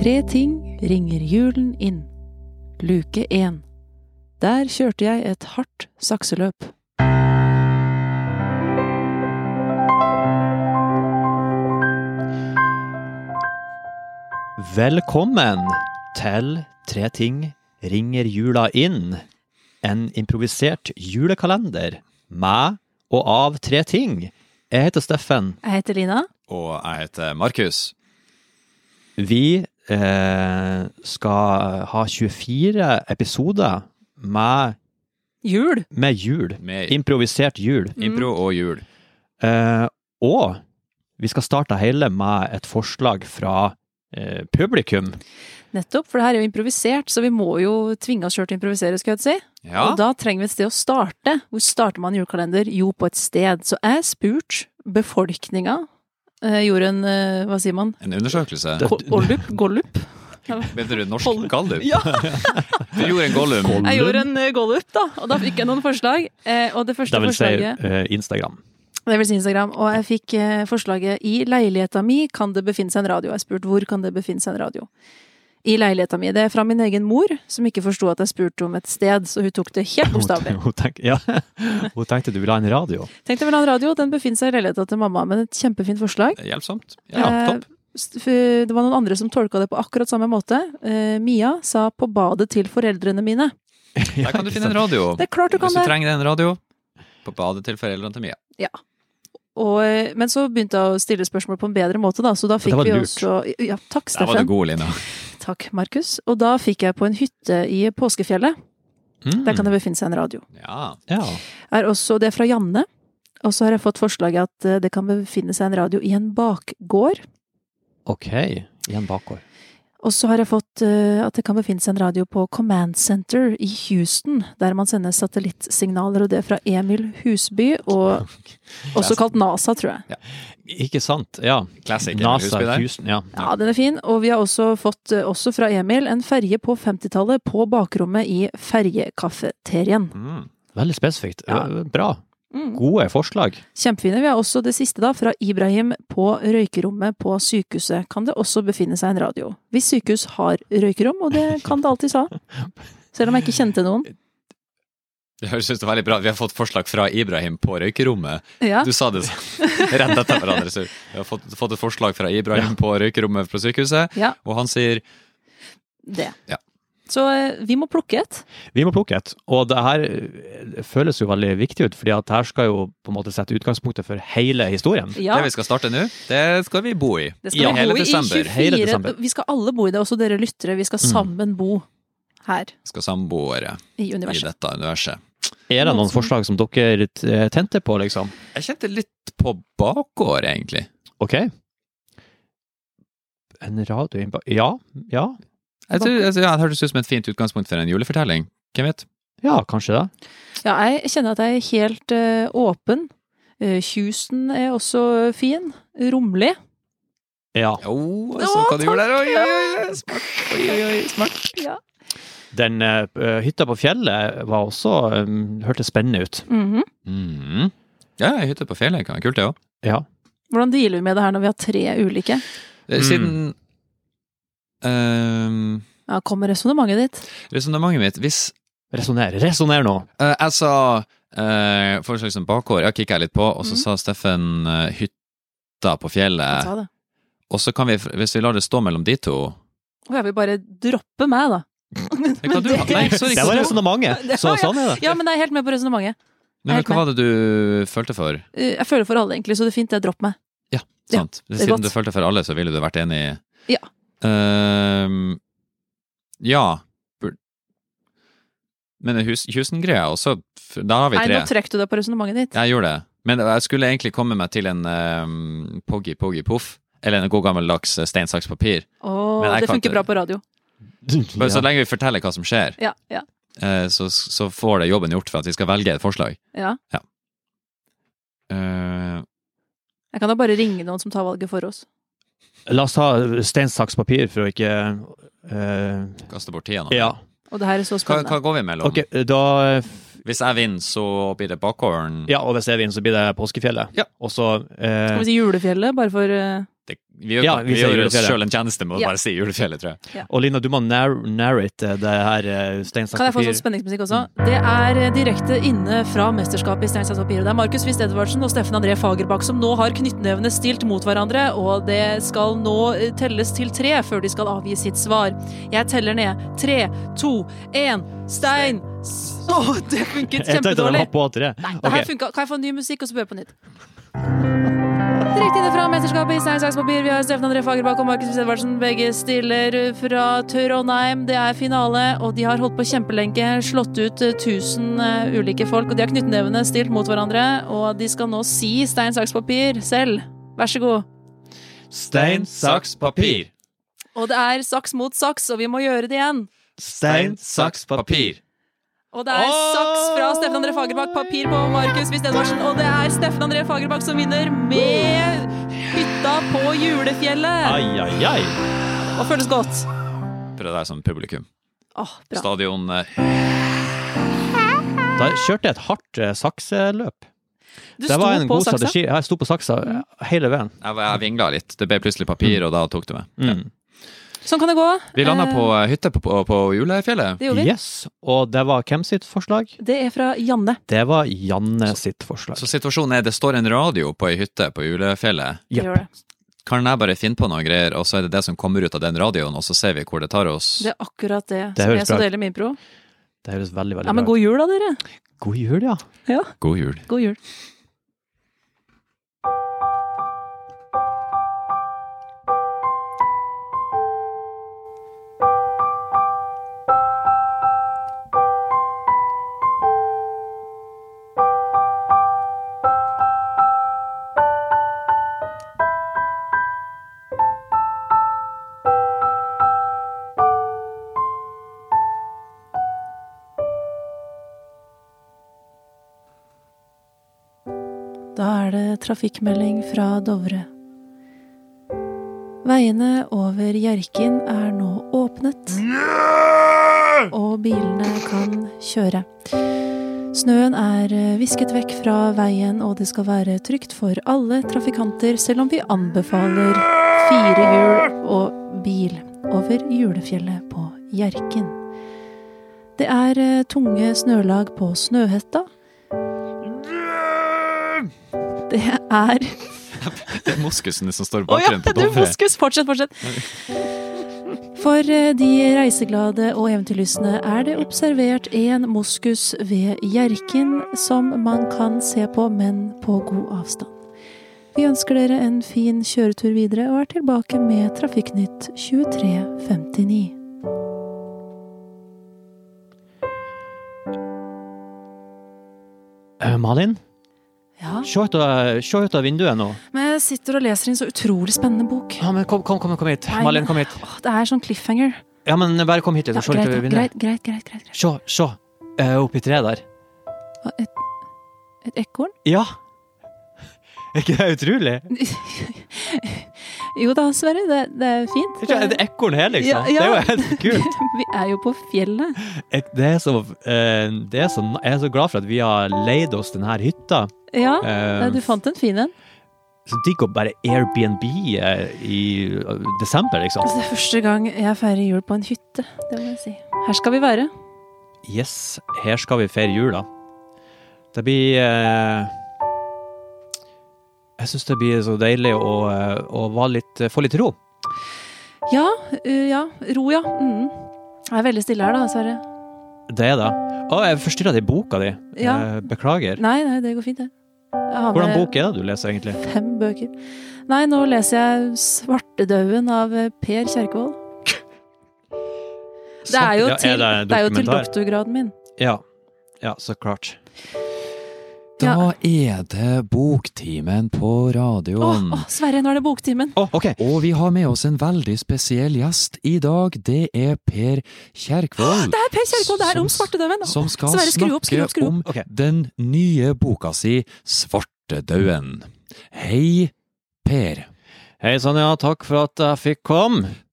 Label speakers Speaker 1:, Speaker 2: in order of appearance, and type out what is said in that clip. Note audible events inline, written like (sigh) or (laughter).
Speaker 1: Tre ting ringer julen inn. Luke én. Der kjørte jeg et hardt sakseløp.
Speaker 2: Velkommen til Tre ting ringer jula inn. En improvisert julekalender med og av tre ting. Jeg heter Steffen.
Speaker 1: Jeg heter Lina.
Speaker 3: Og jeg heter Markus.
Speaker 2: Vi eh, skal ha 24 episoder med,
Speaker 1: Jul!
Speaker 2: med jul.
Speaker 3: Med
Speaker 2: Improvisert jul.
Speaker 1: Mm.
Speaker 3: impro og jul.
Speaker 2: Eh, og vi skal starte hele med et forslag fra eh, publikum.
Speaker 1: Nettopp, for det her er jo improvisert, så vi må jo tvinge oss sjøl til å improvisere, skal jeg til å si.
Speaker 3: Ja.
Speaker 1: Og da trenger vi et sted å starte. Hvor starter man julekalender? Jo, på et sted. Så jeg spurte befolkninga. eh, gjorde en eh, Hva sier man?
Speaker 3: En undersøkelse.
Speaker 2: Det-
Speaker 1: Go- Gollup? Gollup?
Speaker 3: Bedre norsk
Speaker 1: Hold-
Speaker 3: gallup.
Speaker 1: Ja.
Speaker 3: (laughs) Du gjorde en gollum.
Speaker 1: Jeg gjorde en eh, gollup, da. Og da fikk jeg noen forslag. Eh, og det første
Speaker 2: Det vil si
Speaker 1: forslaget
Speaker 2: eh, Instagram.
Speaker 1: Det vil si Instagram. Og jeg fikk eh, forslaget 'I leiligheta mi kan det befinne seg en radio'. Jeg spurte hvor kan det befinne seg en radio. I leiligheta mi. Det er fra min egen mor, som ikke forsto at jeg spurte om et sted, så hun tok det helt bokstavelig.
Speaker 2: (laughs) Hun, tenk, ja. hun tenkte du ville ha en radio.
Speaker 1: Tenkte vel en radio, den befinner seg i leiligheta til mamma, men et kjempefint forslag.
Speaker 3: Hjelpsomt.
Speaker 1: Eh,
Speaker 3: Ja, topp.
Speaker 1: s- f- Det var noen andre som tolka det på akkurat samme måte. Eh, Mia sa 'på badet til foreldrene mine'.
Speaker 3: Der kan du finne en radio.
Speaker 1: Det er klart du kan
Speaker 3: Hvis du
Speaker 1: det!
Speaker 3: trenger en radio, på badet til foreldrene til Mia.
Speaker 1: Og, eh, men så begynte jeg å stille spørsmål på en bedre måte, da, så da fikk
Speaker 2: var
Speaker 1: vi
Speaker 2: lurt.
Speaker 1: også Ja, takk,
Speaker 3: Der var
Speaker 1: Steffen.
Speaker 3: du god, Lina.
Speaker 1: Takk, Markus. Og da fikk jeg på en hytte i påskefjellet.
Speaker 2: Mm.
Speaker 1: Der kan det befinne seg en radio.
Speaker 3: Ja.
Speaker 2: Ja.
Speaker 1: Er også det er fra Janne. Og så har jeg fått forslaget at eh, det kan befinne seg en radio i en bakgård.
Speaker 2: Ok. I en bakgård.
Speaker 1: Og så har jeg fått eh, at det kan befinne seg en radio på Command Center i Houston, der man sender satellittsignaler, og det er fra Emil Husby, og også kalt NASA, tror jeg.
Speaker 2: Ikke sant? Ja.
Speaker 3: Classic. Emil
Speaker 2: NASA,
Speaker 3: Husby der.
Speaker 2: Houston. Ja.
Speaker 1: Ja, den er fin. Og vi har også fått, eh, også fra Emil, en ferje på 50-tallet på bakrommet i ferjekafeterien.
Speaker 3: Mm.
Speaker 2: Veldig spesifikt.
Speaker 1: Ja.
Speaker 2: Eh, Bra.
Speaker 1: Mm.
Speaker 2: Gode forslag.
Speaker 1: Kjempefine. Vi har også det siste, da, fra Ibrahim på røykerommet på sykehuset. Kan det også befinne seg en radio? Hvis sykehus har røykerom, og det kan det alltids ha. Selv om jeg ikke kjente noen.
Speaker 3: Det høres ut som veldig bra. Vi har fått forslag fra Ibrahim på røykerommet.
Speaker 1: Ja,
Speaker 3: Du sa det så-
Speaker 1: (laughs)
Speaker 3: rett etter hverandre. Så vi har fått, fått et forslag fra Ibrahim på røykerommet fra sykehuset,
Speaker 1: Ja.
Speaker 3: og han sier
Speaker 1: det.
Speaker 3: Ja.
Speaker 1: Så eh, vi må plukke et.
Speaker 2: Vi må plukke et. Og det her eh, føles jo veldig viktig ut, fordi at her skal jo på en måte sette utgangspunktet for hele historien.
Speaker 1: Ja,
Speaker 3: det vi skal starte nå, det skal vi bo i.
Speaker 1: det
Speaker 2: ja,
Speaker 1: skal vi
Speaker 3: hele
Speaker 1: bo i
Speaker 3: desember,
Speaker 2: hele
Speaker 1: 24
Speaker 2: desember.
Speaker 1: Vi skal alle bo i det, også dere lyttere. Vi skal sammen bo her
Speaker 3: Skal samboere
Speaker 1: i
Speaker 3: i
Speaker 1: universet.
Speaker 3: dette universet.
Speaker 2: Er det noen
Speaker 1: Noe som-
Speaker 2: forslag som dere eh, tente på, liksom?
Speaker 3: Jeg kjente litt på bakgård, egentlig.
Speaker 2: Ok. En radio innba- Ja. Ja.
Speaker 3: Jeg tror, jeg, ja, det hørtes ut som et fint utgangspunkt for en julefortelling. Hvem vet?
Speaker 2: Ja, kanskje det.
Speaker 1: Ja, jeg kjenner at jeg er helt eh, åpen. Eh, Houston er også fin. Romlig.
Speaker 2: Ja.
Speaker 3: Jo,
Speaker 1: jeg så Å, hva du gjorde der. Oi, oi, oi,
Speaker 3: smart. Oi, oi, oi, smart.
Speaker 1: Ja.
Speaker 2: Den eh, hytta på fjellet var også eh, Hørtes spennende ut.
Speaker 1: Mhm.
Speaker 3: Mm. Ja, ei hytte på fjellet kan være kult, det òg.
Speaker 2: Ja.
Speaker 1: Hvordan dealer vi med det her når vi har tre ulike?
Speaker 3: Eh,
Speaker 1: Mm.
Speaker 3: Siden um,
Speaker 1: Ja, Kommer resonnementet ditt?
Speaker 3: Resonnementet mitt Hvis
Speaker 2: Resonner. Resonner nå!
Speaker 3: eh, jeg sa eh, forslag som bakgård, ja, kikka jeg litt på, og så
Speaker 1: Mm.
Speaker 3: sa Steffen eh, hytta
Speaker 1: Han
Speaker 3: på fjellet.
Speaker 1: sa det.
Speaker 3: Og så kan vi, hvis vi lar det stå mellom de to
Speaker 1: Og jeg vil bare droppe meg, da. Men
Speaker 3: Det kan du ha. Nei, sorry.
Speaker 2: Det var resonnementet! Så sånn er det.
Speaker 1: (laughs) Ja, men jeg er helt med på resonnementet.
Speaker 3: Nei, men
Speaker 1: Helt
Speaker 3: Hva var det du følte for?
Speaker 1: Eh, Jeg føler for alle, egentlig, så det er fint. Jeg dropper meg. Ja,
Speaker 3: Sant.
Speaker 1: er
Speaker 3: Siden
Speaker 1: godt.
Speaker 3: du følte for alle, så ville du vært enig i
Speaker 1: Ja.
Speaker 3: Ehm, ja. Bur- Men det hus, Houston-greia også, f- da har vi
Speaker 1: Nei, nå
Speaker 3: tre.
Speaker 1: trakk du deg på resonnementet ditt.
Speaker 3: Jeg gjorde det. Men jeg skulle egentlig komme meg til en um, poggy poggy poff. Eller en god gammeldags eh, stein, saks, papir.
Speaker 1: Åh,
Speaker 3: Men jeg
Speaker 1: det
Speaker 3: kan
Speaker 1: funker bra
Speaker 3: ikke-
Speaker 1: på radio.
Speaker 3: Bare så
Speaker 2: Ja.
Speaker 3: lenge vi forteller hva som skjer,
Speaker 1: Ja, ja,
Speaker 3: eh, så, så får det jobben gjort for at vi skal velge et forslag.
Speaker 1: ja.
Speaker 3: Eh,
Speaker 1: Jeg kan da bare ringe noen som tar valget for oss.
Speaker 2: La oss ta stein, saks, papir for å ikke eh,
Speaker 3: kaste bort tida nå.
Speaker 2: Ja.
Speaker 1: Og det her er så
Speaker 3: Hva,
Speaker 1: spennende.
Speaker 3: hva går vi mellom?
Speaker 2: Ok, da eh, f-
Speaker 3: Hvis jeg vinner, så blir det bakgården.
Speaker 2: Ja, og hvis jeg vinner, så blir det Påskefjellet.
Speaker 3: Ja.
Speaker 2: Og så eh,
Speaker 1: Skal vi si julefjellet, bare for eh,
Speaker 3: det, vi gjør,
Speaker 2: Ja, vi
Speaker 3: vi
Speaker 2: sier
Speaker 3: gjør oss
Speaker 2: julefjellet.
Speaker 3: sjøl en tjeneste med å
Speaker 1: Ja.
Speaker 3: bare si julefjellet, tror jeg.
Speaker 2: Og Lina, du må nar narrate det her eh, stein,
Speaker 1: Kan
Speaker 2: saks,
Speaker 1: jeg få
Speaker 2: papir.
Speaker 1: sånn spenningsmusikk også? Det er eh, direkte inne fra mesterskapet i stein, saks, papir. Og Det er Markus Wist Edvardsen og Steffen André Fagerbakk som nå har knyttnevene stilt mot hverandre, og det skal nå eh, telles til tre før de skal avgi sitt svar. Jeg teller ned. Tre, to, én, stein! s- Å, det funket
Speaker 2: (laughs) (laughs) Jeg tenkte den
Speaker 1: kjempedårlig!
Speaker 2: var på tre.
Speaker 1: Nei, det
Speaker 2: Ok.
Speaker 1: her funka. Kan jeg få ny musikk, og så prøve på nytt? Direkte inne fra mesterskapet i stein, saks, papir. Vi har Steffen André Fagerbakk og Markus Wiss Edvardsen. Begge stiller fra Trondheim. Det er finale, og de har holdt på kjempelenke. Slått ut eh, 1000 eh, ulike folk, og de har knyttnevene stilt mot hverandre. Og de skal nå si stein, saks, papir selv. Vær så god.
Speaker 2: Stein, saks, papir.
Speaker 1: Og det er saks mot saks, og vi må gjøre det igjen.
Speaker 2: Stein, saks, papir.
Speaker 1: Og det er saks fra Steffen André Fagerbakk, papir på Markus Wiss Edvardsen. Og det er Steffen André Fagerbakk som vinner med hytta på julefjellet.
Speaker 2: Ai, ai, ai.
Speaker 1: Og føles godt.
Speaker 3: Prøv deg som publikum.
Speaker 1: Åh, bra.
Speaker 3: Stadion eh,
Speaker 2: Da kjørte jeg et hardt eh, sakseløp.
Speaker 1: Du
Speaker 2: Det
Speaker 1: sto
Speaker 2: var en
Speaker 1: på
Speaker 2: god
Speaker 1: saksa.
Speaker 2: strategi. Jeg sto på saksa eh, hele veien.
Speaker 3: Jeg, jeg vingla litt. Det ble plutselig papir, og da tok det meg.
Speaker 2: Mm.
Speaker 1: Sånn kan det gå.
Speaker 3: Vi landa
Speaker 1: Eh,
Speaker 3: på eh, hytte på, på, på julefjellet.
Speaker 1: Det gjorde vi.
Speaker 2: Yes, og det var hvem sitt forslag?
Speaker 1: Det er fra Janne.
Speaker 2: Det var Janne sitt forslag.
Speaker 3: Så situasjonen er det står en radio på ei hytte på julefjellet.
Speaker 1: Det
Speaker 2: Jepp.
Speaker 1: gjør det.
Speaker 3: Kan jeg bare finne på noen greier, og så er det det som kommer ut av den radioen, og så ser vi hvor det tar oss?
Speaker 1: Det er akkurat det,
Speaker 2: Det
Speaker 1: som
Speaker 2: høres
Speaker 1: jeg så
Speaker 2: bra ut.
Speaker 1: deler med impro.
Speaker 2: Det høres veldig, veldig
Speaker 1: Ja, men
Speaker 2: bra ut.
Speaker 1: god jul, da, dere.
Speaker 2: God jul, ja.
Speaker 1: Ja,
Speaker 3: God jul.
Speaker 1: god jul. Da er det trafikkmelding fra Dovre. Veiene over Hjerkinn er nå åpnet. Og bilene kan kjøre. Snøen er visket vekk fra veien, og det skal være trygt for alle trafikanter, selv om vi anbefaler fire hjul og bil over julefjellet på Hjerkinn. Det er eh, tunge snølag på Snøhetta. Det er
Speaker 3: Det er moskusen som står i
Speaker 1: Å ja,
Speaker 3: bakgrunnen på
Speaker 1: du
Speaker 3: Dovre.
Speaker 1: moskus! Fortsett, fortsett. (laughs) For eh, de reiseglade og eventyrlystne er det observert en moskus ved Hjerkinn som man kan se på, men på god avstand. Vi ønsker dere en fin kjøretur videre og er tilbake med Trafikknytt 2359.
Speaker 2: Eh, Malin,
Speaker 1: Ja,
Speaker 2: se ut, av, se ut av vinduet nå.
Speaker 1: men jeg sitter og leser en så utrolig spennende bok.
Speaker 2: Ja, men kom, kom, kom, kom hit.
Speaker 1: Nei,
Speaker 2: Malin,
Speaker 1: men-
Speaker 2: kom hit.
Speaker 1: Åh, det er sånn cliffhanger.
Speaker 2: Ja, men bare kom hit litt
Speaker 1: Ja,
Speaker 2: og se ut
Speaker 1: greit,
Speaker 2: av
Speaker 1: greit,
Speaker 2: vinduet.
Speaker 1: greit, greit, greit, greit.
Speaker 2: Se, se. Eh, Oppi treet der.
Speaker 1: Hva, Et, et (laughs) ekorn?
Speaker 2: Ja. (laughs) Er ikke det utrolig?
Speaker 1: Jo da, Sverre, det, det er fint.
Speaker 2: Er ikke det et ekorn her, liksom?
Speaker 1: Ja, ja.
Speaker 2: Det er jo helt kult. (laughs)
Speaker 1: (laughs) Vi er jo på fjellet.
Speaker 2: Jeg- Det er så, eh, det er så, jeg er så glad for at vi har leid oss denne hytta.
Speaker 1: Ja,
Speaker 2: Eh,
Speaker 1: nei, du fant en fin en.
Speaker 2: Så digg å bare Airbnb eh, i eh, desember, liksom.
Speaker 1: Altså, det er første gang jeg feirer jul på en hytte. Det må jeg si. Her skal vi være.
Speaker 2: Yes, her skal vi feire jula. Det blir eh, Jeg syns det blir så deilig å, eh, å være litt, få litt ro.
Speaker 1: Ja, uh, ja. Ro, ja. Mm. Jeg er veldig stille her, da, Sverre.
Speaker 2: Det er det. Å, jeg forstyrra deg i boka di.
Speaker 1: Ja.
Speaker 2: Eh, Beklager.
Speaker 1: Nei, nei, det går fint, det. Jeg har
Speaker 2: Hvordan
Speaker 1: med
Speaker 2: bok er det du leser, egentlig?
Speaker 1: fem bøker. Nei, nå leser jeg 'Svartedauden' av eh, Per Kjerkevold. Det er jo
Speaker 2: Ja,
Speaker 1: til,
Speaker 2: det en
Speaker 1: det er jo til
Speaker 2: dokumentar?
Speaker 1: doktorgraden min.
Speaker 2: Ja. ja, så klart.
Speaker 1: Ja.
Speaker 3: Da er det boktimen på
Speaker 1: Å,
Speaker 3: radioen.
Speaker 1: å, Sverre, nå er det boktimen!
Speaker 2: Å, OK.
Speaker 3: Og vi har med oss en veldig spesiell gjest i dag. Det er Per Kjerkvold.
Speaker 1: Det er Per Kjerkevold! Det er om
Speaker 3: Som-
Speaker 1: svartedauden! Å,
Speaker 3: Som skal
Speaker 1: Sverre, skru opp, skru
Speaker 3: snakke
Speaker 1: opp, skru opp.
Speaker 3: om
Speaker 2: Ok.
Speaker 3: den nye boka si Svartedauden. Hei, Per.
Speaker 2: Hei sann, ja. Takk for at jeg fikk komme.